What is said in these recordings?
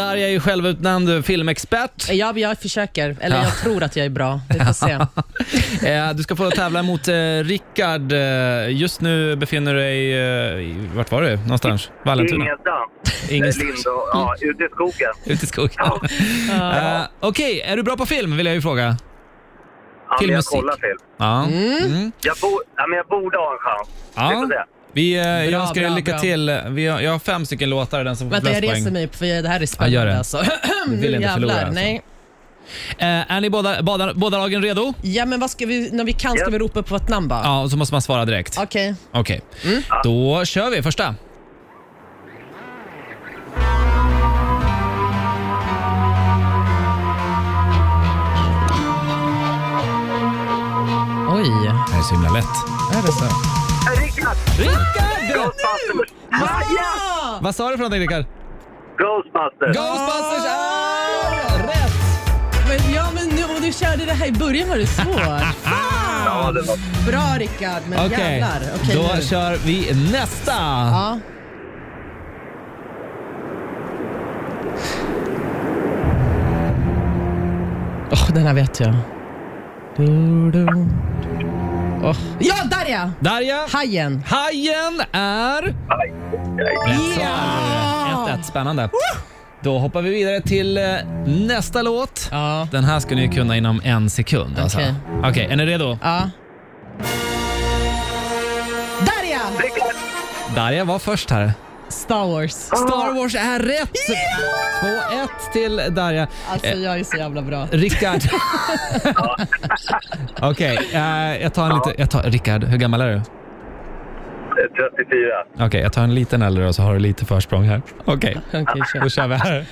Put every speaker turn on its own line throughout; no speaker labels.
Sverige är ju självutnämnd filmexpert.
Ja, jag försöker. Eller jag tror att jag är bra. Vi får se.
Eh, Du ska få tävla mot eh, Rickard. Eh, Just nu befinner du dig, eh, i- vart var du någonstans? Vallentuna?
Ingenstans.
Ingenstans.
Lind och, ja, ute i skogen.
Ute i skogen. Eh, Okej, är du bra på film vill jag ju fråga.
Ja, men jag
Filmmusik.
kollar film.
Ja. Mm.
Jag, bo, ja, men jag borde ha en chans. Det är
Ja.
så det.
Vi, eh, jag
Bra,
önskar dig
bra,
lycka
bra.
till. Vi har, jag har fem stycken låtar, den som får
Vänta,
flest
jag reser
poäng.
mig upp för det här är spännande.
Ja, gör det.
Alltså.
Vi vill inte
Jävlar,
förlora. Alltså.
Nej.
Eh, är ni båda, båda, båda lagen redo?
Ja, men vad ska vi, när vi kan ska
Ja.
vi ropa på vårt namn bara?
Ja, och så måste man svara direkt.
Okej.
Okej,
Mm.
då kör vi första.
Oj.
Det här är så himla lätt.
Är det så?
Rickard!
Rickard!
Ghostbusters! Ah, yes!
Ja!
Vad sa du för någonting Rickard?
Ghostbusters!
Ghostbusters ah! är rätt!
Men, ja, men nu, om du körde det här i början var det svårt.
Ja,
Fan!
det var...
Bra Rickard, men
Ah! Okej,
Ah! jävlar. Okej,
då
nu.
kör vi nästa.
Ja. Åh, den här vet jag. Du, du. Åh. Ja, där ja!
Darja,
Hajen.
Hajen är...
Aj, aj.
Rätt
Ja!
svar. 1-1, spännande. Då hoppar vi vidare till eh, nästa låt.
Ja.
Den här ska ni kunna inom en sekund. Alltså.
Okej.
Okej, är ni redo?
ja. Där ja!
Rickard!
Darja var först här.
Star Wars.
Star Wars är rätt! 2-1 till Darja.
Alltså jag är så jävla bra.
Rickard. Okej, eh, jag tar en lite... Jag tar, Rickard, hur gammal är du?
Eh, 34.
Okej, jag tar en liten äldre och så har du lite försprång här. Okej,
Okej,
då
kör.
kör vi här.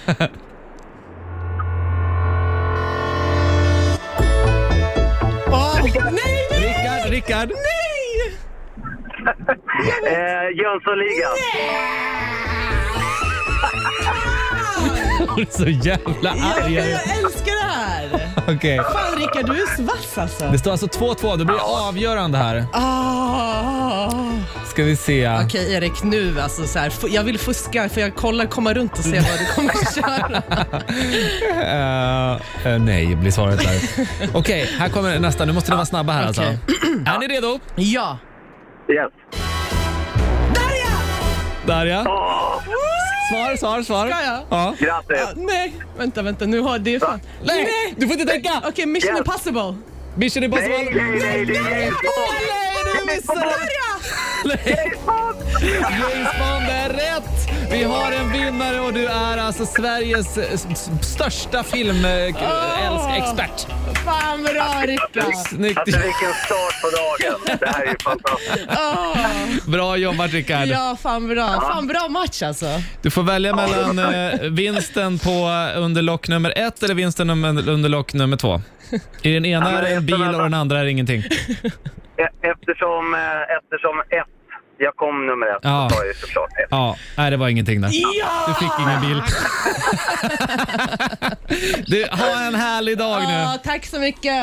Åh, nej, nej!
Rickard, Rickard!
Eh, Jönssonligan.
Du är så jävla
Jag,
arg.
jag älskar det här!
Okej.
Fan Rickard, du är så vass alltså.
Det står alltså 2-2, det blir avgörande här.
Ah.
Ska vi se.
Okej Erik, nu alltså så här, f- jag vill fuska för jag kollar, komma runt och se vad du kommer att köra.
Eh, eh, nej, blir svaret där. Okej, här kommer nästa. Nu måste ni vara snabba här alltså.
Okej.
Är ni redo?
Ja.
Yes.
Darja?
Åh,
Svar, svar, svar.
Ska jag?
Ja.
Ah,
grattis!
nej, vänta, vänta, nu har det fan...
Nej, du får inte tänka!
Okej, Mission
Ja.
Impossible.
Mission
Nej,
Impossible.
nej, nej, det är James Bond!
Nej, du missade!
James Bond!
James Bond är rätt! Vi har en vinnare och du är alltså Sveriges eh, s- s- största filmexpert.
Fan bra Rickard.
Snyggt!
Alltså vilken start på dagen. Det här är ju fantastiskt.
Ah.
Bra jobbat Rickard!
Ja, fan bra. Fan bra match alltså.
Du får välja mellan eh, vinsten på under lock nummer ett eller vinsten om- under lock nummer två. I den ena
men
är det en bil och den andra är det ingenting.
E- Eftersom, eh, eftersom ett, jag kom nummer ett,
Ja.
så tar jag ju såklart ett.
Ja, nej det var ingenting där.
Ja!
Du fick ingen bil. Du, ha en härlig dag nu.
Ah, tack så mycket.